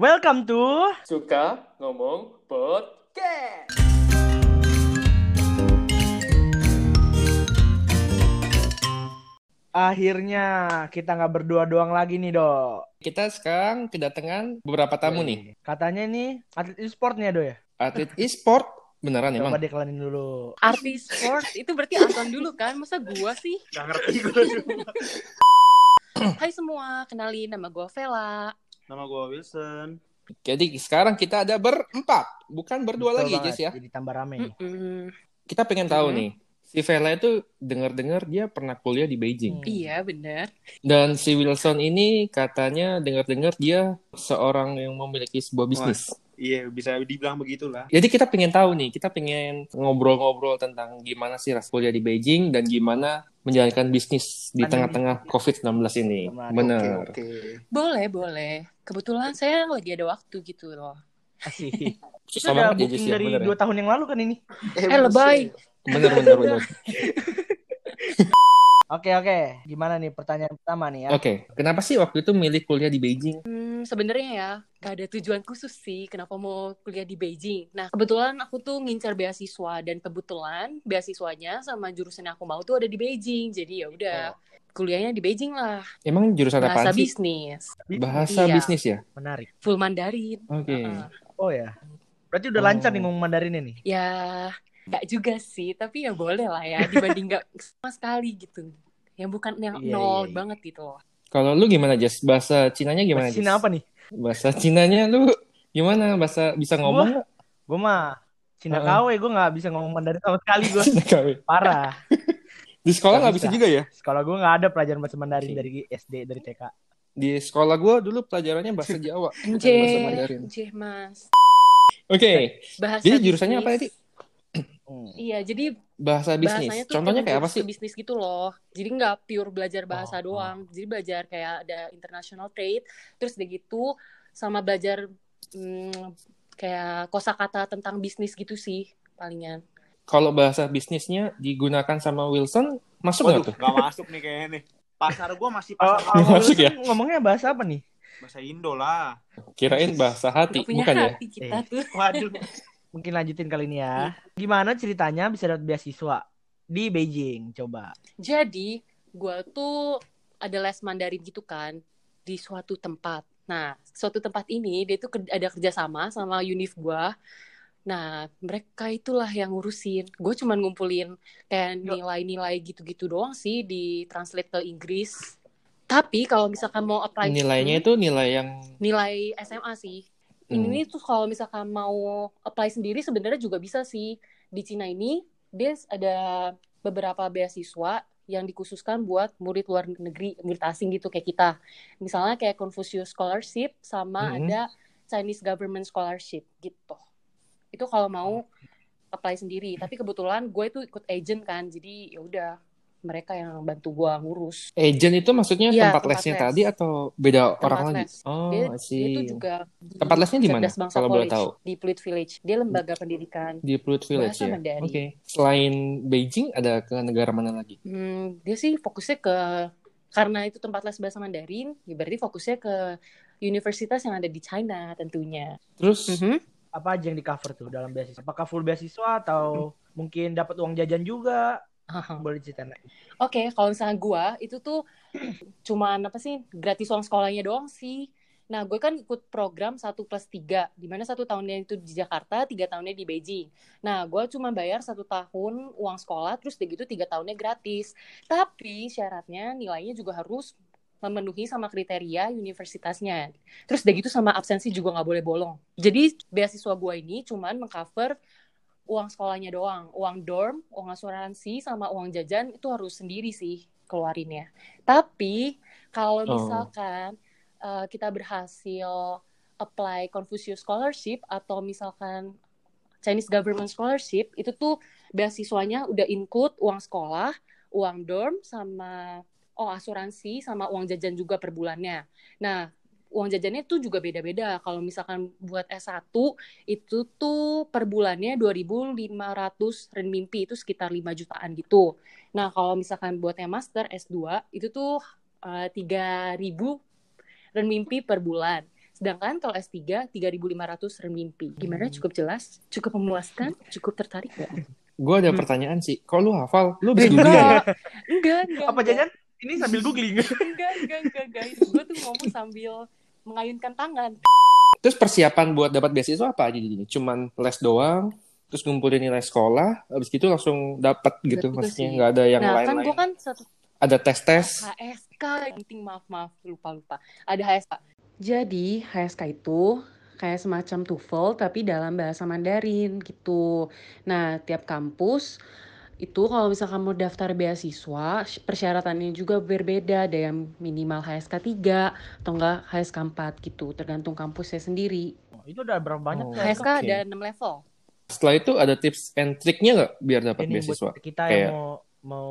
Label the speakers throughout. Speaker 1: Welcome to
Speaker 2: Suka ngomong podcast.
Speaker 1: akhirnya kita nggak berdua doang lagi nih dok.
Speaker 2: Kita sekarang kedatangan beberapa tamu nih.
Speaker 1: Katanya nih atlet e-sport nih ya, dok ya.
Speaker 2: Atlet e-sport beneran emang.
Speaker 1: Coba diklarin dulu.
Speaker 3: Artis Iya, sport itu berarti Anton dulu kan? Masa gua sih?
Speaker 4: Gak ngerti gue
Speaker 3: Hai semua, kenalin nama gua Vela.
Speaker 4: Nama gue Wilson.
Speaker 2: Jadi sekarang kita ada berempat, bukan berdua
Speaker 1: Betul
Speaker 2: lagi
Speaker 1: banget,
Speaker 2: Jess ya.
Speaker 1: Jadi tambah rame Hmm, nih.
Speaker 3: Mm-mm.
Speaker 2: Kita pengen tahu
Speaker 3: Mhm.
Speaker 2: nih. Si Vela itu dengar-dengar dia pernah kuliah di Beijing.
Speaker 1: Hmm.
Speaker 3: Iya bener.
Speaker 2: Dan si Wilson ini katanya dengar-dengar dia seorang yang memiliki sebuah bisnis.
Speaker 4: Iya, bisa dibilang begitulah.
Speaker 2: Jadi kita pengen tahu nih, kita pengen ngobrol-ngobrol tentang gimana sih ras kuliah di Beijing dan gimana menjalankan bisnis di
Speaker 1: Pandemi.
Speaker 2: tengah-tengah COVID-19 ini.
Speaker 1: Kemarin.
Speaker 2: Bener.
Speaker 4: Oke,
Speaker 3: Boleh, boleh. Kebetulan saya lagi ada waktu gitu loh.
Speaker 1: Asik. Kita
Speaker 2: Susah
Speaker 1: udah
Speaker 2: banget ya
Speaker 1: booking
Speaker 2: Jess ya,
Speaker 1: dari
Speaker 2: bener.
Speaker 1: dua tahun yang lalu kan ini.
Speaker 4: oke.
Speaker 3: Eh, lebay.
Speaker 2: Bener, bener, bener.
Speaker 1: Oke oke. Gimana nih pertanyaan pertama nih ya?
Speaker 2: Oke, kenapa sih waktu itu milih kuliah di Beijing?
Speaker 3: Hmm, sebenarnya ya, gak ada tujuan khusus sih kenapa mau kuliah di Beijing. Nah, kebetulan aku tuh ngincar beasiswa dan kebetulan beasiswanya sama jurusan yang aku mau tuh ada di Beijing. Jadi ya udah, kuliahnya di Beijing lah.
Speaker 2: Emang jurusan apa
Speaker 3: Bahasa
Speaker 2: sih?
Speaker 3: bisnis,
Speaker 2: Bahasa
Speaker 3: Iya.
Speaker 2: bisnis ya?
Speaker 1: Menarik.
Speaker 3: full Mandarin.
Speaker 2: Oke.
Speaker 3: Uh-uh.
Speaker 1: Oh ya. Berarti udah
Speaker 2: Oh.
Speaker 1: lancar nih ngomong Mandarin ini.
Speaker 3: Ya, nggak juga sih, tapi ya boleh lah ya dibanding nggak sama sekali gitu. Yang bukan yang
Speaker 1: Iya,
Speaker 3: nol
Speaker 1: iya, iya.
Speaker 3: banget gitu loh.
Speaker 2: Kalau lu gimana, Jess? Bahasa Cinanya gimana,
Speaker 1: Bahasa Cina
Speaker 2: Jess?
Speaker 1: apa nih?
Speaker 2: Bahasa Cinanya lu gimana? Bahasa bisa ngomong nggak?
Speaker 1: Gue mah Cina
Speaker 2: Uh-uh.
Speaker 1: KW, gue nggak bisa ngomong Mandarin sama sekali gue.
Speaker 2: Cina KW.
Speaker 1: Parah.
Speaker 2: Di sekolah nggak bisa
Speaker 1: Nggak
Speaker 2: juga ya?
Speaker 1: Sekolah gue nggak ada pelajaran bahasa Mandarin
Speaker 2: Oke.
Speaker 1: dari SD, dari TK.
Speaker 2: Di sekolah gua dulu pelajarannya bahasa Jawa. bukan Bahasa
Speaker 3: Anjir,
Speaker 2: Mandarin. Oke,
Speaker 3: anjir, mas. Bahasa
Speaker 2: jadi jurusannya apa
Speaker 3: bisnis.
Speaker 2: tadi?
Speaker 1: Hmm.
Speaker 3: Iya, jadi
Speaker 2: Bahasa bisnis.
Speaker 3: bahasanya tuh
Speaker 2: Contohnya
Speaker 3: emang
Speaker 2: kayak apa
Speaker 3: jurus
Speaker 2: sih?
Speaker 3: ke bisnis gitu loh. Jadi nggak pure belajar bahasa
Speaker 1: Oh, oh.
Speaker 3: doang. Jadi belajar kayak ada international trade, terus udah gitu sama belajar hmm, kayak kosakata tentang bisnis gitu sih palingan.
Speaker 2: Kalau bahasa bisnisnya digunakan sama Wilson, masuk nggak
Speaker 4: Waduh,
Speaker 2: tuh?
Speaker 4: gak masuk nih kayaknya nih. Pasar gue masih
Speaker 1: Oh,
Speaker 4: pasar
Speaker 1: oh,
Speaker 2: Masuk
Speaker 1: lu
Speaker 2: ya?
Speaker 1: tuh Ngomongnya bahasa apa nih?
Speaker 4: bahasa Indo lah.
Speaker 2: Kirain bahasa hati,
Speaker 3: Nggak punya
Speaker 2: bukan ya?
Speaker 3: hati kita
Speaker 1: Eh.
Speaker 3: tuh.
Speaker 4: Waduh.
Speaker 1: Mungkin lanjutin kali ini ya.
Speaker 2: Iya.
Speaker 1: Gimana ceritanya bisa dapat beasiswa di Beijing? Coba.
Speaker 3: Jadi gue tuh ada les Mandarin gitu kan di suatu tempat. Nah, suatu tempat ini dia tuh ke- ada kerjasama sama univ gue. Nah, mereka itulah yang ngurusin. Gue cuman ngumpulin kayak nilai-nilai gitu-gitu doang sih di translate ke Inggris. Tapi kalau misalkan mau apply
Speaker 2: Nilainya itu nilai yang
Speaker 3: nilai SMA sih.
Speaker 2: Hmm.
Speaker 3: Ini tuh kalau misalkan mau apply sendiri sebenarnya juga bisa sih. Di Cina ini dia ada beberapa beasiswa yang dikhususkan buat murid luar negeri, murid asing gitu kayak kita. Misalnya kayak Confucius Scholarship sama
Speaker 2: Hmm.
Speaker 3: ada Chinese Government Scholarship gitu. Itu kalau mau apply sendiri. Tapi kebetulan gue itu ikut agent kan, jadi ya udah mereka yang bantu gue ngurus.
Speaker 2: Agent itu maksudnya
Speaker 3: Iya,
Speaker 2: tempat
Speaker 3: tempat
Speaker 2: lesnya
Speaker 3: les.
Speaker 2: tadi atau beda
Speaker 3: Tempat
Speaker 2: orang lagi?
Speaker 3: les.
Speaker 2: Oh, I
Speaker 3: Dia, dia
Speaker 2: see.
Speaker 3: tuh juga
Speaker 2: Tempat lesnya di mana,
Speaker 3: Cerdas Bangsa
Speaker 2: kalau boleh
Speaker 3: College,
Speaker 2: tahu? Hmm.
Speaker 3: Di Pluit Village. Dia lembaga pendidikan.
Speaker 2: Di Pluit Village
Speaker 3: Bahasa
Speaker 2: ya.
Speaker 3: Mandarin.
Speaker 2: Oke. Selain Beijing ada ke negara mana lagi?
Speaker 3: Hmm, dia sih fokusnya ke karena itu tempat les bahasa Mandarin, ya berarti fokusnya ke universitas yang ada di China tentunya.
Speaker 2: Terus
Speaker 3: Mhm.
Speaker 1: Apa aja yang di cover tuh dalam beasiswa? Apakah full beasiswa atau mungkin dapat uang jajan juga? Boleh diceritain.
Speaker 3: Oke, kalau misalnya gua itu tuh cuman apa sih gratis uang sekolahnya doang sih. Nah, gue kan ikut program 1 plus 3, di mana satu tahunnya itu di Jakarta, tiga tahunnya di Beijing. Nah, gua cuma bayar satu tahun uang sekolah, terus udah gitu tiga tahunnya gratis. Tapi syaratnya nilainya juga harus memenuhi sama kriteria universitasnya. Terus udah gitu sama absensi juga nggak boleh bolong. Jadi beasiswa gua ini cuman mengcover uang sekolahnya doang, uang dorm, uang asuransi, sama uang jajan itu harus sendiri sih keluarinnya. Tapi kalau
Speaker 2: Oh.
Speaker 3: misalkan eh, kita berhasil apply Confucius Scholarship atau misalkan Chinese Government Scholarship itu tuh beasiswanya udah include uang sekolah, uang dorm, sama oh asuransi, sama uang jajan juga per bulannya. Nah, uang jajannya tuh juga beda-beda. Kalau misalkan buat S1 itu tuh per bulannya 2.500 renminbi itu sekitar 5 jutaan gitu. Nah, kalau misalkan buat yang master S2 itu tuh eh, 3.000 renminbi per bulan. Sedangkan kalau S3 3.500 remimpi. Gimana
Speaker 1: Hmm.
Speaker 3: cukup jelas? Cukup memuaskan? Cukup tertarik nggak?
Speaker 2: Gue ada
Speaker 3: Mhm.
Speaker 1: Hmm.
Speaker 2: pertanyaan sih. Kalau lu hafal, lu bisa
Speaker 3: Enggak,
Speaker 2: dunia ya?
Speaker 3: enggak, enggak.
Speaker 2: Iya.
Speaker 1: Apa jajan? Ini sambil googling.
Speaker 3: Enggak, enggak, enggak, guys. Gue tuh ngomong sambil mengayunkan tangan.
Speaker 2: Terus persiapan buat dapat beasiswa apa aja jadinya? Cuman les doang, terus ngumpulin nilai sekolah, habis itu langsung dapat gitu
Speaker 3: Betul
Speaker 2: maksudnya.
Speaker 3: sih.
Speaker 2: Nggak ada yang
Speaker 3: nah, kan
Speaker 2: lain-lain.
Speaker 3: gue kan satu
Speaker 2: Ada tes-tes.
Speaker 3: HSK, penting maaf, maaf, lupa, lupa. Ada HSK.
Speaker 5: Jadi HSK itu kayak semacam TOEFL tapi dalam bahasa Mandarin gitu. Nah, tiap kampus itu kalau misal kamu daftar beasiswa, persyaratannya juga berbeda. Ada yang minimal HSK 3 atau enggak HSK 4 gitu, tergantung kampusnya sendiri.
Speaker 1: Oh, itu udah berapa banyak
Speaker 2: Oh.
Speaker 1: tuh?
Speaker 3: HSK
Speaker 2: oke.
Speaker 3: ada 6 level.
Speaker 2: Setelah itu ada tips and triknya nggak biar dapat
Speaker 1: Ini
Speaker 2: beasiswa?
Speaker 1: buat kita yang
Speaker 2: Kayak-
Speaker 1: mau mau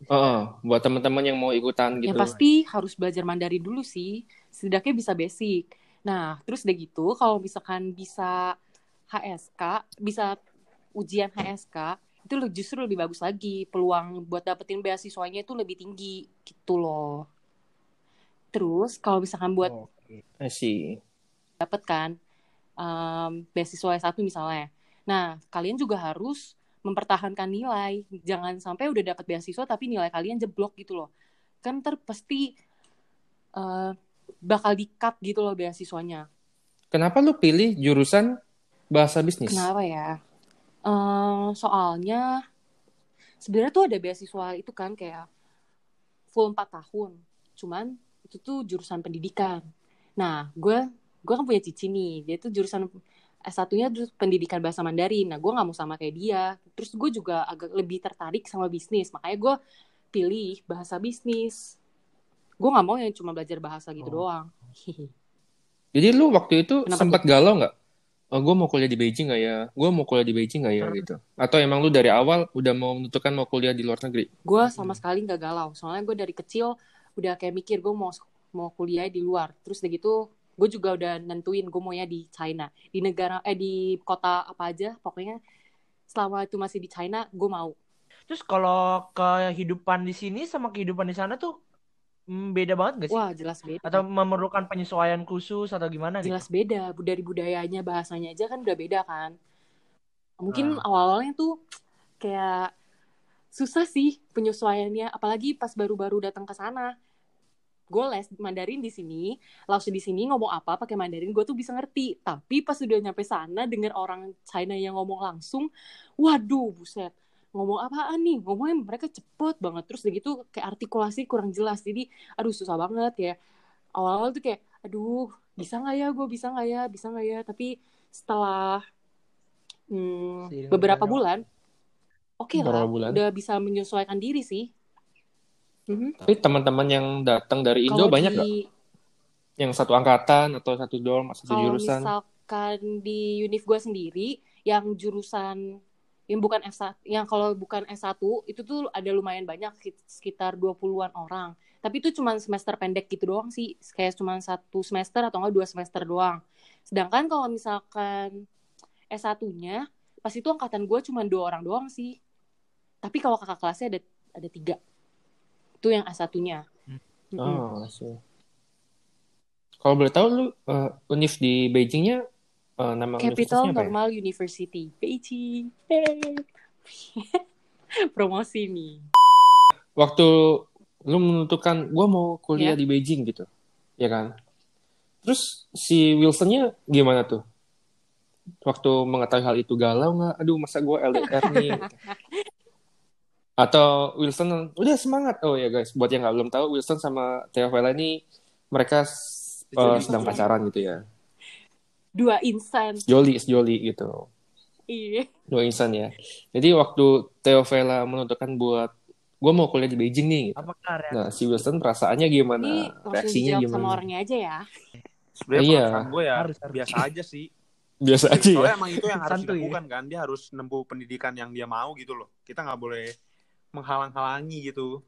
Speaker 2: Heeh, buat teman-teman yang mau ikutan gitu.
Speaker 3: Yang pasti harus belajar Mandarin dulu sih, setidaknya bisa basic. Nah, terus udah gitu kalau misalkan bisa HSK, bisa ujian HSK, itu le- justru lebih bagus lagi. Peluang buat dapetin beasiswanya itu lebih tinggi gitu loh. Terus kalau misalkan buat
Speaker 1: Oke.
Speaker 2: Eh, sih.
Speaker 3: dapet kan um, beasiswa S1 misalnya. Nah, kalian juga harus mempertahankan nilai. Jangan sampai udah dapat beasiswa tapi nilai kalian jeblok gitu loh. Kan ntar pasti uh, bakal di-cut gitu loh beasiswanya.
Speaker 2: Kenapa lu pilih jurusan bahasa bisnis?
Speaker 3: Kenapa ya? Um, soalnya sebenarnya tuh ada beasiswa itu kan kayak full 4 tahun. Cuman itu tuh jurusan pendidikan. Nah, gue gue kan punya cici nih. Dia tuh jurusan S1-nya terus pendidikan bahasa Mandarin. Nah, gue nggak mau sama kayak dia. Terus gue juga agak lebih tertarik sama bisnis. Makanya gue pilih bahasa bisnis. Gue nggak mau yang cuma belajar bahasa gitu
Speaker 1: Oh.
Speaker 3: doang.
Speaker 2: Jadi lu waktu itu
Speaker 3: Kenapa
Speaker 2: sempat galau nggak? Oh, gue mau kuliah di Beijing nggak ya? Gue mau kuliah di Beijing nggak ya
Speaker 1: Hmm.
Speaker 2: gitu? Atau emang lu dari awal udah mau menentukan mau kuliah di luar negeri?
Speaker 3: gue
Speaker 1: Hmm.
Speaker 3: sama sekali nggak galau soalnya gue dari kecil udah kayak mikir gue mau mau kuliah di luar terus udah gitu gue juga udah nentuin gue maunya di China di negara eh di kota apa aja pokoknya selama itu masih di China gue mau
Speaker 1: Terus kalau kehidupan di sini sama kehidupan di sana tuh mm, beda banget gak sih?
Speaker 3: wah jelas beda
Speaker 1: Atau memerlukan penyesuaian khusus atau gimana gitu?
Speaker 3: jelas beda Bu- dari budayanya bahasanya aja kan udah beda kan mungkin
Speaker 1: Ah.
Speaker 3: awal-awalnya tuh kayak susah sih penyesuaiannya apalagi pas baru-baru datang ke sana gue les Mandarin di sini langsung di sini ngomong apa pakai Mandarin gue tuh bisa ngerti tapi pas udah nyampe sana denger orang China yang ngomong langsung waduh buset ngomong apaan nih ngomongnya mereka cepet banget terus udah gitu kayak artikulasi kurang jelas jadi aduh susah banget ya awal-awal tuh kayak aduh bisa nggak ya gue bisa nggak ya bisa nggak ya tapi setelah hmm,
Speaker 1: Seiring
Speaker 3: beberapa
Speaker 1: berjalannya
Speaker 3: bulan oke lah
Speaker 2: Beberapa bulan.
Speaker 3: udah bisa menyesuaikan diri sih Mhm.
Speaker 2: Tapi teman-teman yang datang dari Indo
Speaker 3: Kalau
Speaker 2: banyak
Speaker 3: di-
Speaker 2: nggak? Yang satu angkatan atau satu dorm, satu
Speaker 3: kalau
Speaker 2: jurusan?
Speaker 3: misalkan di univ gue sendiri yang jurusan yang bukan S1 yang kalau bukan S1 itu tuh ada lumayan banyak sekit- sekitar 20-an orang tapi itu cuma semester pendek gitu doang sih kayak cuma satu semester atau enggak dua semester doang sedangkan kalau misalkan S1-nya pas itu angkatan gue cuma dua orang doang sih tapi kalau kakak kelasnya ada ada tiga itu yang S1-nya
Speaker 1: Hmm.
Speaker 3: Mm-mm.
Speaker 2: Oh, I see. Kalau boleh tahu lu eh, univ di Beijingnya eh, nama
Speaker 3: Capital
Speaker 2: universitasnya apa ya?
Speaker 3: Normal University, Beijing. Yeay. Promosi nih.
Speaker 2: Waktu lu menentukan gua mau kuliah
Speaker 3: Ya.
Speaker 2: di Beijing gitu, ya kan? Terus si Wilsonnya gimana tuh? Waktu mengetahui hal itu galau nggak? Aduh masa gua LDR nih? gitu. Atau Wilson udah semangat? Oh ya guys, buat yang nggak belum tahu Wilson sama Theo Vela ini mereka s- eh, sedang pacaran gitu ya.
Speaker 3: Dua insan.
Speaker 2: Jolly, jolly gitu.
Speaker 3: Iya.
Speaker 2: dua insan ya. Jadi waktu Theo Vela menentukan buat gue mau kuliah di Beijing nih. Gitu.
Speaker 1: Apakah reaksi?
Speaker 2: Nah, si Wilson perasaannya gimana?
Speaker 3: Ini Iya. langsung
Speaker 2: Nah, Reaksinya
Speaker 3: dijawab
Speaker 2: gimana?
Speaker 3: sama orangnya aja ya.
Speaker 4: Sebenarnya
Speaker 2: Iya.
Speaker 4: perasaan gue ya
Speaker 1: Harus, harus.
Speaker 4: biasa aja sih.
Speaker 2: Biasa aja ya.
Speaker 4: Soalnya emang itu yang harus
Speaker 1: Santuy.
Speaker 4: dilakukan kan. Dia harus nempuh pendidikan yang dia mau gitu loh. Kita nggak boleh menghalang-halangi gitu.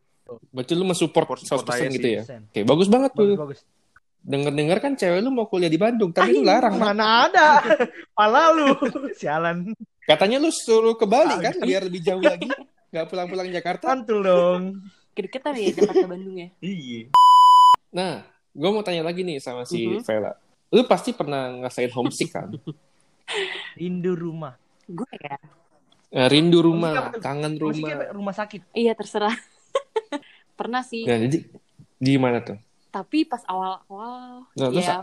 Speaker 2: Berarti lu mensupport
Speaker 4: Support-
Speaker 2: 100%
Speaker 4: support aja
Speaker 2: gitu
Speaker 4: sih.
Speaker 2: ya. Oke, bagus banget
Speaker 1: Bagus,
Speaker 2: tuh.
Speaker 1: bagus.
Speaker 2: Denger-denger kan cewek lu mau kuliah di Bandung, tapi lu larang. Mak.
Speaker 1: Mana ada? Pala lu. Sialan.
Speaker 2: Katanya lu suruh ke Bali kan biar lebih jauh lagi. Gak pulang-pulang Jakarta.
Speaker 1: Tantul dong.
Speaker 3: Kedeketan ya Jakarta Bandung ya.
Speaker 4: Iya.
Speaker 2: Nah, gue mau tanya lagi nih sama si
Speaker 3: Mhm.
Speaker 2: Vela. Lu pasti pernah ngerasain homesick kan?
Speaker 1: Rindu rumah.
Speaker 3: Gue ya.
Speaker 2: Eh, Rindu
Speaker 1: Homesick
Speaker 2: rumah,
Speaker 1: apa tuh?
Speaker 2: kangen
Speaker 1: Maksudnya
Speaker 2: rumah.
Speaker 1: rumah sakit.
Speaker 3: Iya terserah. Pernah sih.
Speaker 2: Nah, jadi gimana tuh?
Speaker 3: Tapi pas awal-awal
Speaker 2: Nah, terus
Speaker 3: ya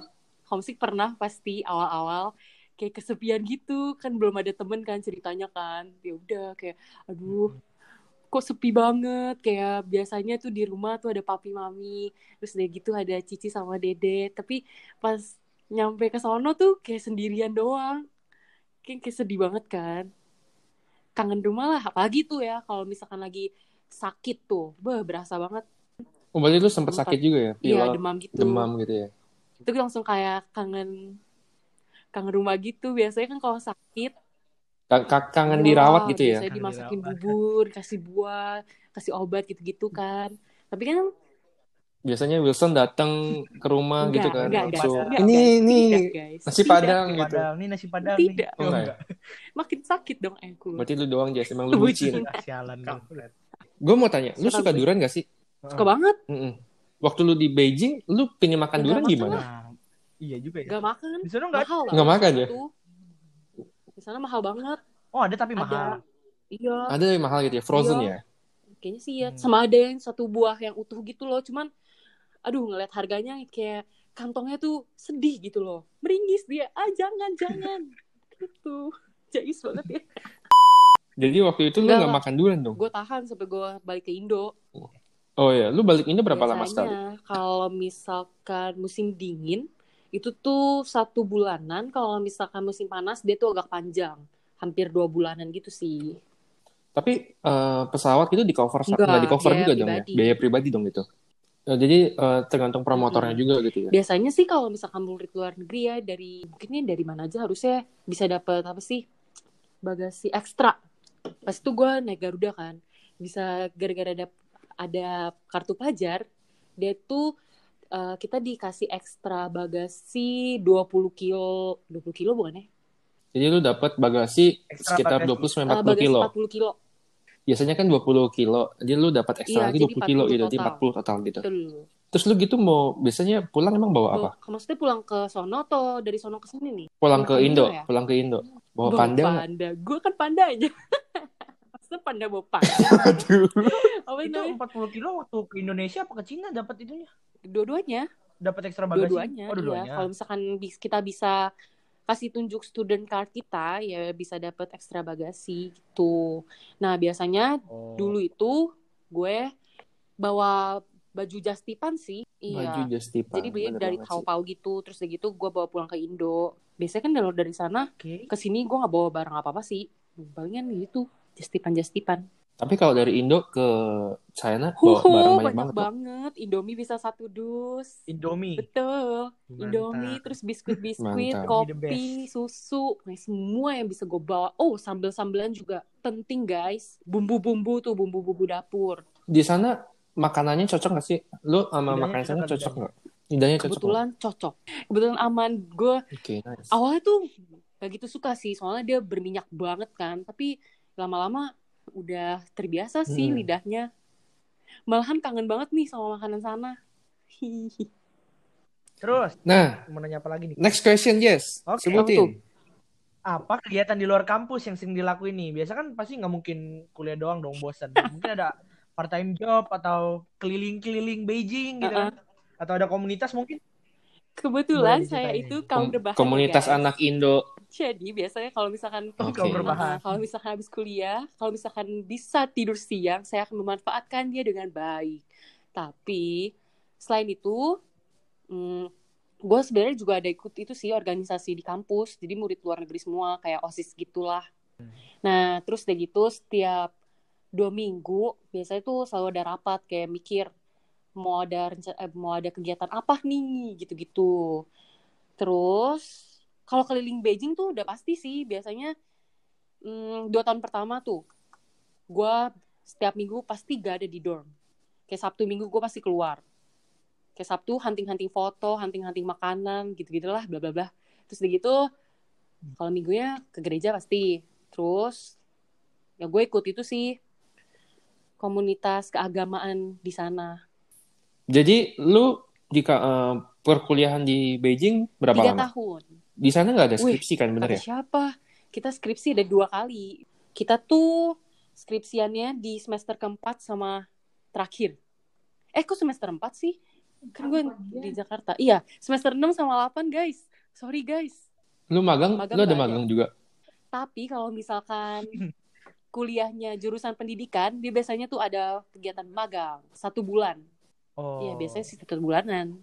Speaker 3: homesick pernah pasti awal-awal kayak kesepian gitu kan belum ada temen kan ceritanya kan ya udah kayak aduh kok sepi banget kayak biasanya tuh di rumah tuh ada papi mami terus deh gitu ada cici sama dede tapi pas nyampe ke sono tuh kayak sendirian doang kayak, kayak sedih banget kan kangen rumah lah apalagi tuh ya kalau misalkan lagi sakit tuh beh berasa banget
Speaker 2: Oh, berarti lu sempat
Speaker 3: Sempat.
Speaker 2: sakit juga ya?
Speaker 3: iya
Speaker 2: Pilek,
Speaker 3: demam gitu
Speaker 2: demam gitu ya?
Speaker 3: itu langsung kayak kangen kangen rumah gitu biasanya kan kalau sakit
Speaker 2: Ka- ka- Kangen
Speaker 3: wah,
Speaker 2: dirawat gitu ya?
Speaker 3: Iya, biasanya
Speaker 1: Kangen
Speaker 3: dimasakin
Speaker 1: dirawat.
Speaker 3: bubur kasih buah kasih obat gitu-gitu kan tapi kan
Speaker 2: Biasanya Wilson datang ke rumah
Speaker 3: enggak
Speaker 2: gitu kan
Speaker 3: enggak guys
Speaker 2: langsung.
Speaker 3: enggak,
Speaker 2: ini
Speaker 3: guys.
Speaker 2: ini
Speaker 3: tidak guys
Speaker 2: nasi
Speaker 3: Tidak.
Speaker 2: padang gitu.
Speaker 1: Padang nih nasi padang
Speaker 3: Tidak.
Speaker 1: nih.
Speaker 2: Oh, enggak ya?
Speaker 3: makin sakit dong eh, aku
Speaker 2: Berarti lu doang Jess, emang lu bucin.
Speaker 1: Ah, Sialan dong.
Speaker 2: Gue mau tanya, lu
Speaker 3: Suka
Speaker 2: suka
Speaker 3: gue.
Speaker 2: durian gak sih?
Speaker 3: suka banget
Speaker 2: Mm-mm. Waktu lu di Beijing, lu pengen makan
Speaker 3: Enggak
Speaker 2: durian
Speaker 3: makan
Speaker 2: gimana?
Speaker 1: Nah, iya juga ya.
Speaker 3: enggak makan
Speaker 1: Di sana enggak?
Speaker 3: mahal lah
Speaker 2: Enggak makan ya?
Speaker 3: itu di sana mahal banget
Speaker 1: Oh, ada tapi mahal.
Speaker 3: ada iya
Speaker 2: Ada yang mahal gitu ya, frozen
Speaker 3: Iya.
Speaker 2: ya?
Speaker 3: kayaknya sih ya
Speaker 1: Hmm.
Speaker 3: sama ada yang satu buah yang utuh gitu loh cuman aduh ngeliat harganya kayak kantongnya tuh sedih gitu loh meringis dia ah jangan jangan gitu jais banget ya
Speaker 2: Jadi waktu itu lu
Speaker 3: Enggak
Speaker 2: nggak
Speaker 3: lah.
Speaker 2: makan durian dong?
Speaker 3: gue tahan sampai gue balik ke Indo
Speaker 2: Oh ya, lu balik ini berapa lama sekali?
Speaker 3: Biasanya kalau misalkan musim dingin itu tuh satu bulanan kalau misalkan musim panas dia tuh agak panjang hampir dua bulanan gitu sih
Speaker 2: Tapi eh, pesawat itu di cover
Speaker 3: Enggak,
Speaker 2: nggak di cover
Speaker 3: biaya
Speaker 2: juga dong ya?
Speaker 3: pribadi.
Speaker 2: Biaya pribadi dong gitu. Nah, jadi eh, tergantung promotornya
Speaker 3: Mm-mm.
Speaker 2: juga gitu ya.
Speaker 3: biasanya sih kalau misalkan murid luar negeri ya dari mungkin ya dari mana aja harusnya bisa dapet apa sih bagasi ekstra pas itu gue naik Garuda kan bisa gara-gara ada ada kartu pajar dia tuh eh, kita dikasih ekstra bagasi 20 kilo 20 kilo bukan ya
Speaker 2: Jadi lu dapat bagasi
Speaker 1: Ekstra
Speaker 2: sekitar
Speaker 1: bagasi.
Speaker 2: 20
Speaker 3: Eh,
Speaker 2: sampai 40
Speaker 3: bagasi
Speaker 2: kilo.
Speaker 3: 40 kilo
Speaker 2: Biasanya kan 20 kilo. Jadi lu dapat
Speaker 3: Iya,
Speaker 2: ekstra lagi
Speaker 3: jadi
Speaker 2: 20 kilo
Speaker 3: 40
Speaker 2: gitu, jadi
Speaker 3: total.
Speaker 2: 40 total gitu.
Speaker 3: betul
Speaker 2: Terus lu gitu mau biasanya pulang emang bawa apa?
Speaker 3: Bawa- maksudnya pulang ke sono atau dari sono ke sini nih
Speaker 2: Pulang ke
Speaker 3: Bawa
Speaker 2: Indo,
Speaker 3: ya?
Speaker 2: pulang ke Indo. Bawa
Speaker 3: bawa
Speaker 2: Oh, panda nggak?
Speaker 3: panda gue kan panda aja maksudnya panda bawa panda
Speaker 2: Aduh.
Speaker 3: apa
Speaker 1: Itu
Speaker 3: namanya
Speaker 1: 40 kilo waktu ke Indonesia apa ke Cina dapat itunya?
Speaker 3: dua-duanya
Speaker 1: Dapat ekstra bagasi.
Speaker 3: dua-duanya
Speaker 1: Oh, dua-duanya.
Speaker 3: iya kalau misalkan bis- kita bisa kasih tunjuk student card kita ya bisa dapat ekstra bagasi gitu nah biasanya
Speaker 1: Oh.
Speaker 3: dulu itu gue bawa baju justipan sih
Speaker 2: Baju
Speaker 3: iya
Speaker 2: just tipan.
Speaker 3: jadi beli
Speaker 2: bener
Speaker 3: dari
Speaker 2: banget sih.
Speaker 3: Taobao gitu terus udah gitu gue bawa pulang ke Indo biasanya kan kalau dari sana
Speaker 1: Oke.
Speaker 3: ke sini gue nggak bawa barang apa apa sih palingan gitu justipan justipan
Speaker 2: Tapi kalau dari Indo ke China bawa barang
Speaker 3: Huhu,
Speaker 2: banyak,
Speaker 3: banyak
Speaker 2: banget.
Speaker 3: banget,
Speaker 2: loh.
Speaker 3: Indomie bisa satu dus
Speaker 1: Indomie.
Speaker 3: betul
Speaker 1: Mantap.
Speaker 3: Indomie, terus biskuit-biskuit,
Speaker 1: Indomie the
Speaker 2: Mantap.
Speaker 3: kopi, susu, nah, semua yang bisa gue bawa. Oh, sambel-sambelan juga penting guys. Bumbu-bumbu tuh, bumbu-bumbu dapur.
Speaker 2: Di sana makanannya cocok gak sih? Lu sama
Speaker 1: Lidahnya
Speaker 2: makanan sana
Speaker 1: cocok,
Speaker 2: cocok nggak? Lidahnya cocok nggak?
Speaker 3: Kebetulan cocok. Kebetulan aman. Gue
Speaker 2: Oke, nice.
Speaker 3: awalnya tuh gak gitu suka sih, soalnya dia berminyak banget kan. Tapi lama-lama udah terbiasa sih
Speaker 2: Mm-mm.
Speaker 3: lidahnya. Malahan kangen banget nih sama makanan sana. Hihihi.
Speaker 1: Terus
Speaker 2: Nah,
Speaker 1: mau nanya apa lagi nih?
Speaker 2: next question,
Speaker 1: Oke.
Speaker 2: Jess.
Speaker 3: Apa tuh?
Speaker 2: Sebutin.
Speaker 1: Apa kegiatan di luar kampus yang sering dilakuin nih? Biasa kan pasti nggak mungkin kuliah doang dong, bosan. Mungkin ada part time job atau keliling-keliling Beijing gitu kan. Atau ada komunitas mungkin.
Speaker 3: Kebetulan
Speaker 1: Boleh
Speaker 3: saya
Speaker 1: diceritain.
Speaker 3: itu kaum
Speaker 2: Kom-
Speaker 3: berbahan
Speaker 2: komunitas
Speaker 3: guys.
Speaker 2: anak Indo.
Speaker 3: Jadi biasanya kalau misalkan
Speaker 2: Oke.
Speaker 1: Kau berbahan.
Speaker 3: Uh-uh, kalau misalkan habis kuliah, kalau misalkan bisa tidur siang, saya akan memanfaatkan dia dengan baik. Tapi selain itu, gue sebenarnya juga ada ikut itu sih organisasi di kampus. Jadi murid luar negeri semua kayak osis gitulah.
Speaker 1: Hmm.
Speaker 3: Nah terus udah gitu setiap dua minggu biasanya tuh selalu ada rapat kayak mikir mau ada renca- eh, mau ada kegiatan apa nih gitu-gitu. Terus kalau keliling Beijing tuh udah pasti sih biasanya mm, dua tahun pertama tuh gue setiap minggu pasti gak ada di dorm. Kayak Sabtu Minggu gue pasti keluar. Kayak Sabtu hunting-hunting foto, hunting-hunting makanan, gitu-gitulah, bla bla bla. Terus udah gitu, kalau minggunya ke gereja pasti. Terus ya gue ikut itu sih komunitas keagamaan di sana.
Speaker 2: Jadi lu jika eh, perkuliahan di Beijing berapa
Speaker 3: tiga
Speaker 2: lama?
Speaker 3: tahun.
Speaker 2: Di sana nggak ada
Speaker 3: Wih,
Speaker 2: skripsi kan bener
Speaker 3: Kata
Speaker 2: ya?
Speaker 3: siapa? Kita skripsi ada dua kali. Kita tuh skripsiannya di semester keempat sama terakhir. Eh, kok semester empat sih? Kan gue di Jakarta. Iya, semester enam sama delapan, guys. Sorry, guys.
Speaker 2: Lu magang,
Speaker 3: Magang
Speaker 2: lu ada
Speaker 3: nggak ada.
Speaker 2: magang juga.
Speaker 3: Tapi kalau misalkan kuliahnya jurusan pendidikan, dia biasanya tuh ada kegiatan magang. Satu bulan.
Speaker 1: Oh.
Speaker 3: Iya, biasanya sih satu bulanan.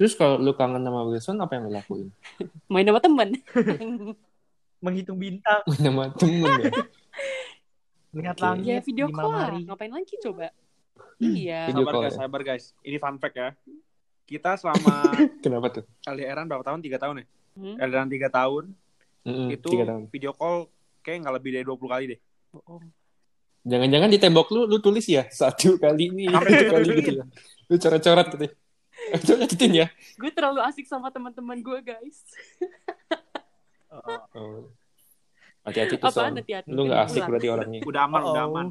Speaker 2: Terus kalau lu kangen sama Wilson apa yang lu lakuin?
Speaker 3: Main sama temen.
Speaker 1: menghitung bintang,
Speaker 2: Main sama temen ya.
Speaker 1: melihat
Speaker 2: Oke.
Speaker 1: langit
Speaker 3: ya, video
Speaker 1: di malam
Speaker 3: call.
Speaker 1: Iya, hari. Hmm.
Speaker 3: Ngapain lagi coba? Iya.
Speaker 2: Video
Speaker 4: Sabar
Speaker 2: call
Speaker 4: guys,
Speaker 2: ya?
Speaker 4: sabar guys. Ini fun fact ya. Kita selama
Speaker 2: Kenapa tuh?
Speaker 4: LDRan berapa tahun? Tiga tahun ya?
Speaker 3: Hmm.
Speaker 4: LDRan tiga tahun,
Speaker 2: Mm-mm,
Speaker 4: itu
Speaker 2: Hmm, Tiga tahun.
Speaker 4: video call kayak nggak lebih dari 20 kali deh.
Speaker 3: Bohong.
Speaker 2: Jangan-jangan di tembok lu, lu tulis ya satu kali ini,
Speaker 4: Apa
Speaker 2: satu
Speaker 4: yang
Speaker 2: kali
Speaker 4: lu
Speaker 2: gitu ya. Lu coret-coret gitu. ya. Coba catetin ya.
Speaker 3: gue terlalu asik sama teman-teman gue guys
Speaker 1: Oh.
Speaker 2: Oh. Hati-hati tuh
Speaker 3: apaan
Speaker 2: Son.
Speaker 3: hati-hati
Speaker 2: Lu nggak asik
Speaker 3: Pulang. Uh,
Speaker 2: berarti orangnya.
Speaker 4: Udah aman, udah aman.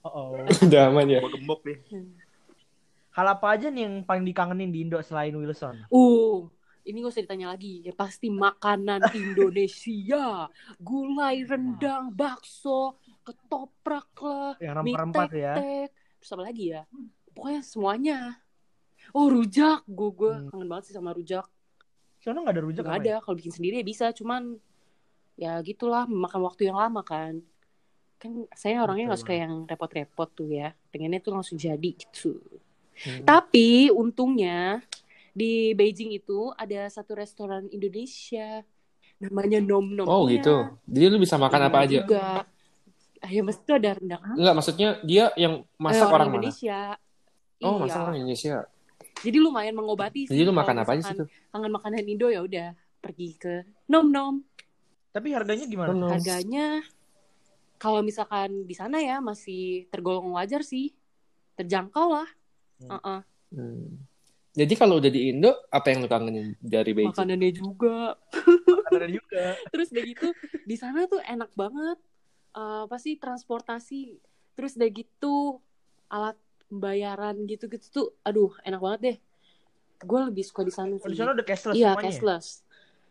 Speaker 1: Oh, oh.
Speaker 2: Udah aman ya.
Speaker 3: Iya.
Speaker 4: Gue gembok deh.
Speaker 1: Hal apa aja nih yang paling dikangenin di Indo selain Wilson?
Speaker 3: uh ini gak usah ditanya lagi ya pasti makanan Indonesia gulai rendang bakso ketoprak lah
Speaker 1: Yang
Speaker 3: mie
Speaker 1: rempah-rempah tuh ya.
Speaker 3: tek terus apa lagi ya pokoknya semuanya oh rujak gue gue
Speaker 1: Hmm.
Speaker 3: kangen banget sih sama rujak
Speaker 1: Soalnya nggak ada rujak
Speaker 3: Gak
Speaker 1: apa ya?
Speaker 3: ada kalau bikin sendiri ya bisa cuman ya gitulah memakan waktu yang lama kan kan saya orangnya nggak
Speaker 1: Betul
Speaker 3: suka yang repot-repot tuh ya pengennya tuh langsung jadi gitu
Speaker 2: Hmm.
Speaker 3: tapi untungnya di Beijing itu ada satu restoran Indonesia namanya Nom Nom Iya.
Speaker 2: Oh gitu. Jadi lu bisa makan apa aja.
Speaker 3: juga ayam itu ada rendang apa?
Speaker 2: Enggak, maksudnya dia yang masak
Speaker 3: Iya. Eh,
Speaker 2: orang, mana?
Speaker 3: Indonesia
Speaker 2: Oh,
Speaker 3: Iya.
Speaker 2: masak orang Indonesia.
Speaker 3: jadi lumayan mengobati sih
Speaker 2: Jadi lu
Speaker 3: kalau
Speaker 2: makan apa aja sih
Speaker 3: misalkan
Speaker 2: tuh?
Speaker 3: kangen makanan Indo ya udah pergi ke Nom Nom
Speaker 1: Tapi harganya gimana?
Speaker 2: Nom-nom.
Speaker 3: harganya kalau misalkan di sana ya masih tergolong wajar sih terjangkau lah
Speaker 1: Hmm.
Speaker 3: Uh-uh.
Speaker 2: Hmm. Jadi kalau udah di Indo, apa yang lu kangenin dari Beijing?
Speaker 3: makanannya juga
Speaker 1: Ada juga.
Speaker 3: terus udah gitu di sana tuh enak banget Eh, apa sih transportasi terus udah gitu alat pembayaran gitu gitu tuh aduh enak banget deh gue lebih suka di sana
Speaker 1: Oh, di
Speaker 3: sih
Speaker 1: sana udah cashless
Speaker 3: iya
Speaker 1: semuanya. ya?
Speaker 3: cashless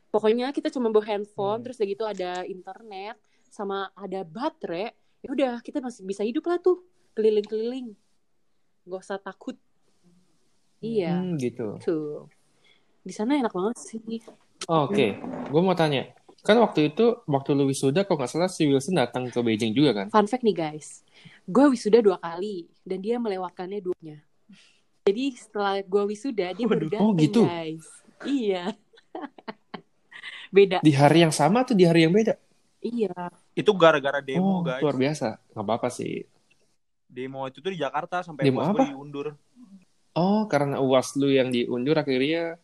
Speaker 3: pokoknya kita cuma bawa handphone
Speaker 1: Hmm.
Speaker 3: terus udah gitu ada internet sama ada baterai ya udah kita masih bisa hidup lah tuh keliling-keliling gak usah takut iya
Speaker 2: Hmm, gitu.
Speaker 3: tuh di sana enak banget sih
Speaker 2: Oke, gue mau tanya. Kan waktu itu, waktu lu wisuda, kalau nggak salah si Wilson datang ke Beijing juga kan?
Speaker 3: fun fact nih guys gue wisuda dua kali dan dia melewatkannya duanya jadi setelah gue wisuda dia baru
Speaker 2: Waduh. Oh,
Speaker 3: dateng,
Speaker 2: gitu.
Speaker 3: guys iya beda
Speaker 2: Di hari yang sama atau di hari yang beda?
Speaker 3: iya
Speaker 4: Itu gara-gara
Speaker 2: oh,
Speaker 4: demo Iya, guys.
Speaker 2: luar biasa. Nggak apa-apa sih.
Speaker 4: Demo itu tuh di Jakarta sampai
Speaker 2: Demo
Speaker 4: bos
Speaker 2: apa? Eh,
Speaker 4: gue diundur.
Speaker 2: Oh, karena uas lu yang diundur akhirnya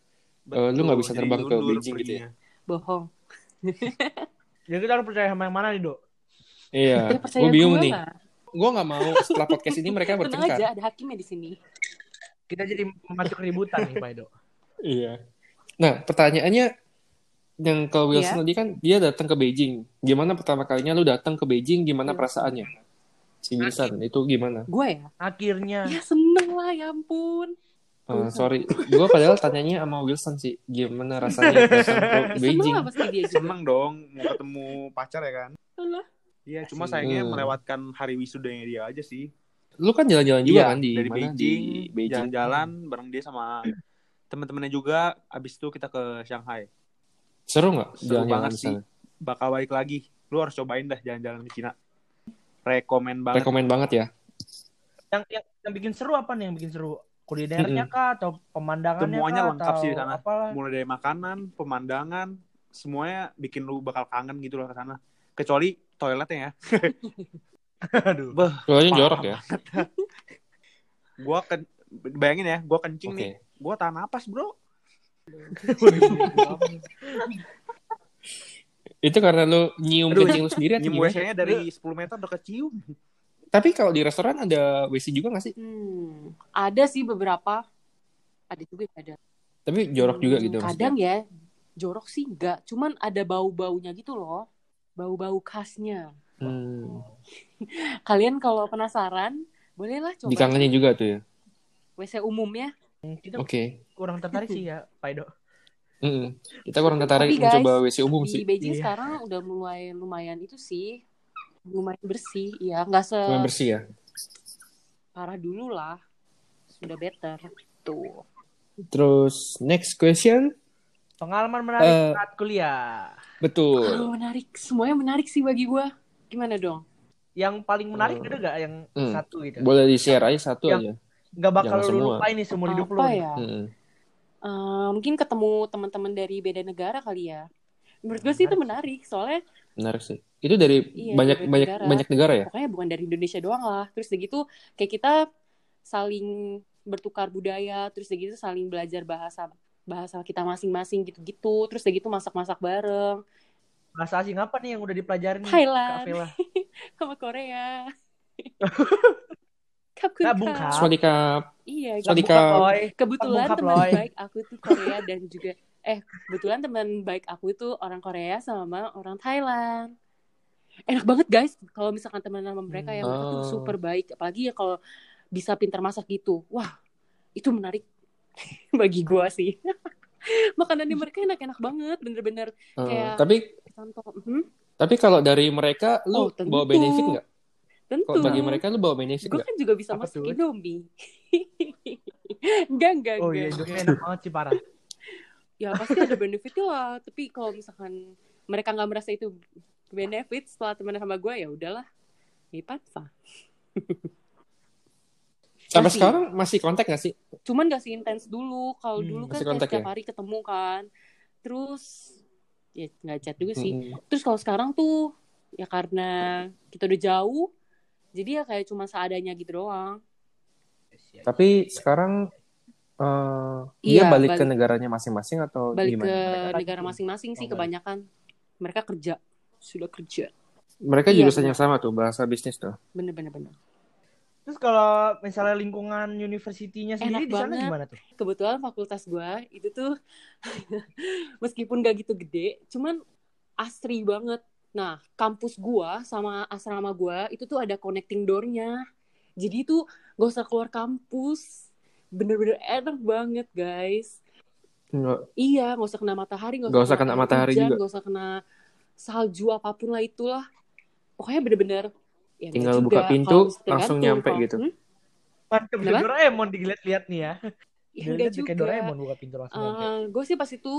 Speaker 2: Eh, lu nggak bisa
Speaker 4: Jadi
Speaker 2: terbang ke
Speaker 4: diundur
Speaker 2: Beijing gitu ya?
Speaker 4: perginya.
Speaker 3: bohong
Speaker 1: Jadi kita harus percaya sama yang mana nih, Dok?
Speaker 2: Iya,
Speaker 3: ya
Speaker 2: gue
Speaker 3: percaya
Speaker 2: bingung
Speaker 3: gua
Speaker 2: nih.
Speaker 3: lah.
Speaker 2: Gue nggak mau setelah podcast ini mereka
Speaker 3: tenang aja
Speaker 2: bertengkar.
Speaker 3: ada hakimnya di sini
Speaker 1: Kita jadi memacu keributan nih, Pak Edo.
Speaker 2: Iya. Nah, pertanyaannya yang ke
Speaker 3: Iya.
Speaker 2: Wilson tadi kan dia datang ke Beijing. Gimana pertama kalinya lu datang ke Beijing? Gimana
Speaker 3: Wilson.
Speaker 2: perasaannya? Si Wilson itu gimana?
Speaker 3: gue ya
Speaker 1: Akhirnya
Speaker 3: ya seneng lah ya ampun
Speaker 2: Eh,
Speaker 3: Wilson.
Speaker 2: sorry, gue padahal tanyanya sama Wilson sih. Gimana rasanya datang ke
Speaker 3: Ya, seneng
Speaker 2: Beijing?
Speaker 3: lah pasti dia juga
Speaker 4: Seneng dong mau ketemu pacar ya kan?
Speaker 3: Alah.
Speaker 4: Iya, cuma sayangnya
Speaker 2: Hmm.
Speaker 4: melewatkan hari wisudanya dia aja sih.
Speaker 2: Lu kan jalan-jalan juga
Speaker 4: Iya,
Speaker 2: kan di
Speaker 4: dari
Speaker 2: mana
Speaker 4: Beijing,
Speaker 2: di Beijing?
Speaker 4: jalan-jalan bareng dia sama teman-temannya juga. Abis itu kita ke Shanghai.
Speaker 2: Seru nggak
Speaker 4: Seru
Speaker 2: jalan-jalan
Speaker 4: banget
Speaker 2: di sana?
Speaker 4: Bakal balik lagi. Lu harus cobain dah jalan-jalan ke Cina. Rekomen banget.
Speaker 2: Rekomen banget ya.
Speaker 1: yang, yang yang bikin seru apa nih yang bikin seru? Kulinernya kah atau pemandangannya
Speaker 4: Semuanya
Speaker 1: kah,
Speaker 4: lengkap
Speaker 1: atau
Speaker 4: sih di sana.
Speaker 1: Apalah.
Speaker 4: Mulai dari makanan, pemandangan, semuanya bikin lu bakal kangen gitu loh ke sana. Kecuali toiletnya ya.
Speaker 1: Aduh.
Speaker 2: Soalnya
Speaker 4: Parah
Speaker 2: jorok ya.
Speaker 4: Gua ken- bayangin ya, gua
Speaker 2: Oke.
Speaker 4: kencing nih. Gua tahan napas, Bro.
Speaker 2: Itu karena lu nyium
Speaker 4: Aduh,
Speaker 2: kencing lu sendiri atau
Speaker 4: Nyium
Speaker 2: Iya, gimana?
Speaker 4: WC-nya dari 10 meter udah kecium.
Speaker 2: Tapi kalau di restoran ada WC juga nggak sih?
Speaker 3: hmm, ada sih beberapa ada juga yang ada
Speaker 2: Tapi jorok juga
Speaker 3: Hmm,
Speaker 2: gitu
Speaker 3: kadang ya jorok sih enggak cuman ada bau baunya gitu loh bau-bau khasnya
Speaker 2: maksudnya. Hmm.
Speaker 3: kalian kalau penasaran bolehlah coba
Speaker 2: Dikangenin juga tuh ya.
Speaker 3: WC umumnya
Speaker 1: Hmm, Kita
Speaker 2: Oke.
Speaker 1: kurang tertarik sih ya, Pak Edo.
Speaker 2: Mm-mm. Kita kurang tertarik
Speaker 3: Tapi, guys,
Speaker 2: mencoba WC umum
Speaker 3: di
Speaker 2: sih.
Speaker 3: Beijing
Speaker 1: Iya.
Speaker 3: sekarang udah mulai lumayan itu sih lumayan bersih ya nggak
Speaker 2: Lumayan bersih ya.
Speaker 3: separah dulu lah sudah better tuh
Speaker 2: Terus next question.
Speaker 1: Pengalaman menarik
Speaker 2: Eh.
Speaker 1: saat kuliah.
Speaker 2: Betul.
Speaker 3: Kalau menarik semuanya menarik sih bagi gua gimana dong
Speaker 1: Yang paling menarik
Speaker 2: Hmm.
Speaker 1: ada gak yang
Speaker 2: Hmm.
Speaker 1: satu gitu?
Speaker 2: Boleh di-share aja satu
Speaker 3: Ya.
Speaker 1: Yang-
Speaker 2: aja.
Speaker 1: Gak bakal lu
Speaker 2: jangan semua.
Speaker 1: lupain nih seumur hidup lu.
Speaker 3: apa
Speaker 1: nih.
Speaker 3: ya
Speaker 2: Mm-mm.
Speaker 3: Eh, mungkin ketemu teman-teman dari beda negara kali ya menurut gue sih itu menarik soalnya
Speaker 2: Menarik sih. Itu dari
Speaker 3: Iya,
Speaker 2: banyak
Speaker 3: dari
Speaker 2: banyak
Speaker 3: negara. Iya.
Speaker 2: banyak negara ya?
Speaker 3: pokoknya bukan dari Indonesia doang lah terus udah gitu kayak kita saling bertukar budaya terus udah gitu saling belajar bahasa bahasa kita masing-masing gitu-gitu terus udah gitu masak-masak bareng
Speaker 1: Bahasa asing apa nih yang udah dipelajarin?
Speaker 2: Hmm,
Speaker 1: nih,
Speaker 3: Thailand.
Speaker 1: Kak Vela?
Speaker 3: sama Korea Kap kun
Speaker 1: Nah, Bung
Speaker 3: kap.
Speaker 1: Kap.
Speaker 2: Swadika.
Speaker 3: iya
Speaker 1: Lah,
Speaker 2: Sorry,
Speaker 1: bukan,
Speaker 2: Kak.
Speaker 1: Boy.
Speaker 3: kebetulan
Speaker 1: Bokap,
Speaker 3: teman
Speaker 1: Loy.
Speaker 3: baik aku tuh Korea dan juga eh kebetulan teman baik aku itu orang Korea sama orang Thailand enak banget guys kalau misalkan teman sama mereka yang mereka tuh
Speaker 1: Hmm.
Speaker 2: Oh.
Speaker 3: super baik apalagi ya kalau bisa pintar masak gitu wah itu menarik bagi gua sih makanannya mereka enak-enak banget bener-bener
Speaker 2: Eh,
Speaker 3: Kayak-
Speaker 2: tapi
Speaker 3: contoh mhm,
Speaker 2: tapi kalau dari mereka lu
Speaker 3: Oh, tentu.
Speaker 2: bawa benefit nggak?
Speaker 3: tentu
Speaker 2: Kalau bagi mereka lu bawa benefit
Speaker 3: gue
Speaker 2: nggak?
Speaker 3: kan juga bisa
Speaker 1: Apa
Speaker 3: masak
Speaker 1: tuh?
Speaker 3: Indomie enggak enggak
Speaker 1: Oh iya,
Speaker 3: enggak
Speaker 1: hidupnya enak banget sih, parah.
Speaker 3: ya pasti ada benefitnya lah tapi kalau misalkan mereka nggak merasa itu benefit setelah teman sama gue ya udahlah Mipanfa.
Speaker 2: Sampai
Speaker 3: Masih.
Speaker 2: sekarang masih kontak nggak sih?
Speaker 3: Cuman gak seintens dulu. Kalau
Speaker 1: Hmm,
Speaker 3: dulu kan
Speaker 2: masih
Speaker 3: kayak
Speaker 2: kontak
Speaker 3: setiap
Speaker 2: ya?
Speaker 3: hari ketemu kan. Terus ya nggak chat juga sih.
Speaker 2: Mm-mm.
Speaker 3: Terus kalau sekarang tuh ya karena kita udah jauh, jadi ya kayak cuma seadanya gitu doang.
Speaker 2: Tapi sekarang eh, dia
Speaker 3: Iya,
Speaker 2: balik, ke
Speaker 3: balik-
Speaker 2: negaranya masing-masing atau
Speaker 3: Balik
Speaker 2: gimana?
Speaker 3: ke
Speaker 2: mereka?
Speaker 1: Mereka
Speaker 3: negara
Speaker 1: lagi.
Speaker 3: masing-masing sih
Speaker 2: Oh, balik.
Speaker 3: kebanyakan. Mereka kerja, sudah kerja.
Speaker 2: Mereka
Speaker 3: Iya,
Speaker 2: jurusan
Speaker 3: benar.
Speaker 2: yang sama tuh bahasa bisnis tuh.
Speaker 3: Bener-bener bener.
Speaker 1: Terus kalau misalnya lingkungan universitinya sendiri
Speaker 3: Enak
Speaker 1: di sana
Speaker 3: banget.
Speaker 1: gimana tuh?
Speaker 3: Kebetulan fakultas gua itu tuh meskipun gak gitu gede, cuman asri banget. Nah, kampus gua sama asrama gua itu tuh ada connecting door-nya. Jadi itu gak usah keluar kampus. Bener-bener enak banget, guys.
Speaker 2: Nggak-
Speaker 3: Iya, gak usah kena matahari, gak usah,
Speaker 2: Nggak usah kena matahari
Speaker 3: hujan,
Speaker 2: juga.
Speaker 3: Gak usah kena salju apapun lah itulah. Pokoknya bener-bener ya, nggak
Speaker 2: Tinggal
Speaker 3: juga.
Speaker 2: buka pintu,
Speaker 3: Kalau tergantung,
Speaker 2: langsung nyampe
Speaker 3: kalau-
Speaker 2: gitu.
Speaker 3: Hmm?
Speaker 1: Mantep,
Speaker 3: Kenapa?
Speaker 1: Doraemon digeliat-liat nih ya.
Speaker 3: Ya, nggak
Speaker 1: Dilihat
Speaker 3: juga.
Speaker 1: kayak Doraemon buka pintu langsung nyampe.
Speaker 3: gue Eh, sih pas itu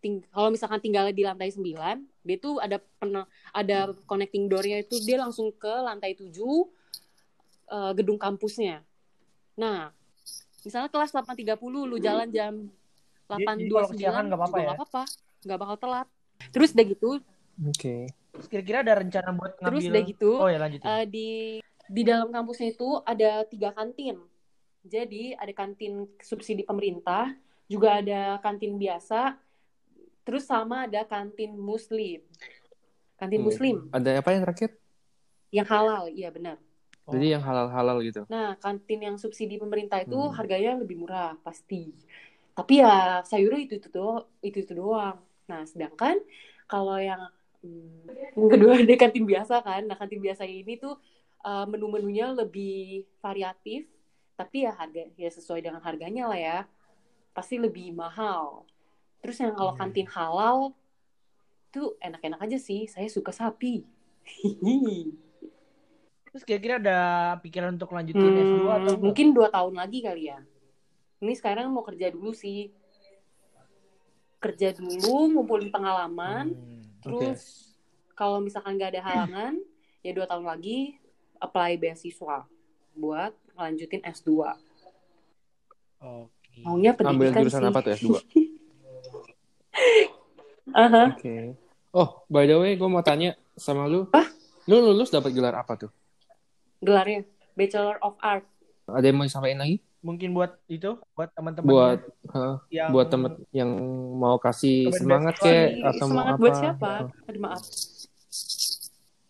Speaker 3: ting- kalau misalkan tinggal di lantai 9 dia tuh ada pen- ada connecting door-nya itu dia langsung ke lantai 7 eh, gedung kampusnya. Nah, misalnya kelas 8.30 lu jalan jam
Speaker 1: Iya, Jadi kalau
Speaker 3: 8.29
Speaker 1: kesiangan nggak apa-apa ya?
Speaker 3: juga nggak apa-apa, nggak bakal telat. Terus udah gitu,
Speaker 2: Oke.
Speaker 1: Terus kira-kira ada rencana buat ngambil
Speaker 3: terus udah gitu
Speaker 1: Oh ya lanjutin.
Speaker 3: eh, di di dalam kampusnya itu ada tiga kantin. Jadi ada kantin subsidi pemerintah, juga ada kantin biasa, terus sama ada kantin muslim. Kantin
Speaker 2: Hmm.
Speaker 3: muslim
Speaker 2: Ada apa yang terakhir?
Speaker 3: yang halal, iya benar.
Speaker 1: Oh.
Speaker 2: Jadi yang halal-halal gitu.
Speaker 3: Nah, kantin yang subsidi pemerintah itu
Speaker 2: Hmm.
Speaker 3: harganya lebih murah pasti. Tapi ya sayurnya itu itu doang, itu itu doang. Nah, sedangkan kalau yang hmm, yang kedua ada kantin biasa kan. Nah, kantin biasa ini tuh uh, menu-menunya lebih variatif, tapi ya harga ya sesuai dengan harganya lah ya. Pasti lebih mahal. Terus yang kalau
Speaker 1: Iya,
Speaker 3: kantin halal tuh enak-enak aja sih. Saya suka sapi.
Speaker 1: Terus kira-kira ada pikiran untuk
Speaker 2: Gitu,
Speaker 1: lanjutin
Speaker 3: Hmm,
Speaker 1: S2 atau enggak?
Speaker 3: mungkin dua tahun lagi kali ya. Ini sekarang mau kerja dulu sih. Kerja dulu, ngumpulin pengalaman.
Speaker 1: Hmm.
Speaker 3: Kan? Terus kalau misalkan nggak ada halangan, ya dua tahun lagi apply beasiswa buat lanjutin S2.
Speaker 1: Oke.
Speaker 3: Maunya
Speaker 2: Ambil
Speaker 3: pendidikan
Speaker 2: jurusan
Speaker 3: sih.
Speaker 2: apa tuh S2? Oke.
Speaker 3: Aha.
Speaker 2: Oh, by the way, gue mau tanya sama lu. Lu lulus dapat gelar apa tuh?
Speaker 3: Gelarnya Bachelor of Art.
Speaker 2: Ada yang mau disampaikan lagi?
Speaker 1: Mungkin buat itu buat teman-teman
Speaker 2: Buat heh,
Speaker 1: yang
Speaker 2: buat temen yang mau kasih
Speaker 1: Temen
Speaker 2: semangat
Speaker 1: beasiswa
Speaker 2: kek
Speaker 3: Ini
Speaker 2: atau mau
Speaker 3: semangat
Speaker 2: apa?
Speaker 3: buat siapa?
Speaker 2: gitu.
Speaker 3: Aduh, maaf.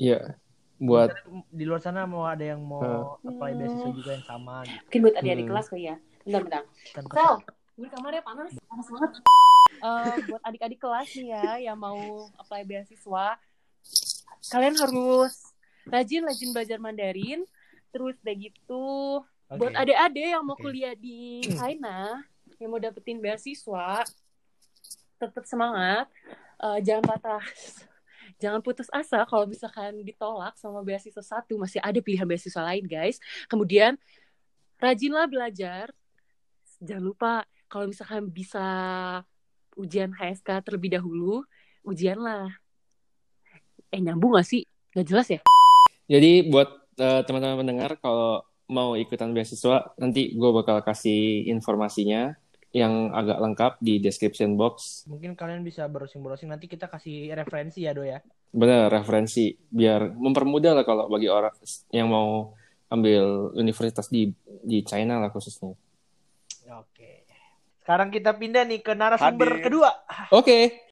Speaker 2: Iya. Buat Eh.
Speaker 1: di luar sana mau ada yang mau
Speaker 3: Hmm.
Speaker 1: apply beasiswa juga yang sama gitu. kan.
Speaker 3: Mungkin buat adik-adik
Speaker 2: Hmm.
Speaker 3: kelas kali ya. Bentar, bentar.
Speaker 1: Dan
Speaker 3: Sel, gue di kamarnya panas, panas banget. Eh, buat adik-adik kelas nih ya yang mau apply beasiswa, kalian harus rajin-rajin belajar Mandarin, terus udah gitu
Speaker 1: Oke.
Speaker 3: Buat adik-adik yang
Speaker 1: Oke.
Speaker 3: mau
Speaker 1: Hmm.
Speaker 3: kuliah di China, yang mau dapetin beasiswa, tetap semangat, Eh, jangan patah, jangan putus asa kalau misalkan ditolak sama beasiswa satu, masih ada pilihan beasiswa lain guys. Kemudian rajinlah belajar, jangan lupa kalau misalkan bisa ujian HSK terlebih dahulu, ujianlah. Eh nyambung gak sih? Gak jelas ya?
Speaker 2: Jadi buat eh, teman-teman pendengar kalau mau ikutan beasiswa nanti gue bakal kasih informasinya yang agak lengkap di description box.
Speaker 1: Mungkin kalian bisa browsing-browsing nanti kita kasih referensi ya, Do ya.
Speaker 2: Bener referensi biar mempermudah lah kalau bagi orang yang mau ambil universitas di di China lah khususnya.
Speaker 1: Oke. Sekarang kita pindah nih ke narasumber
Speaker 4: Hadir.
Speaker 1: kedua.
Speaker 2: Oke,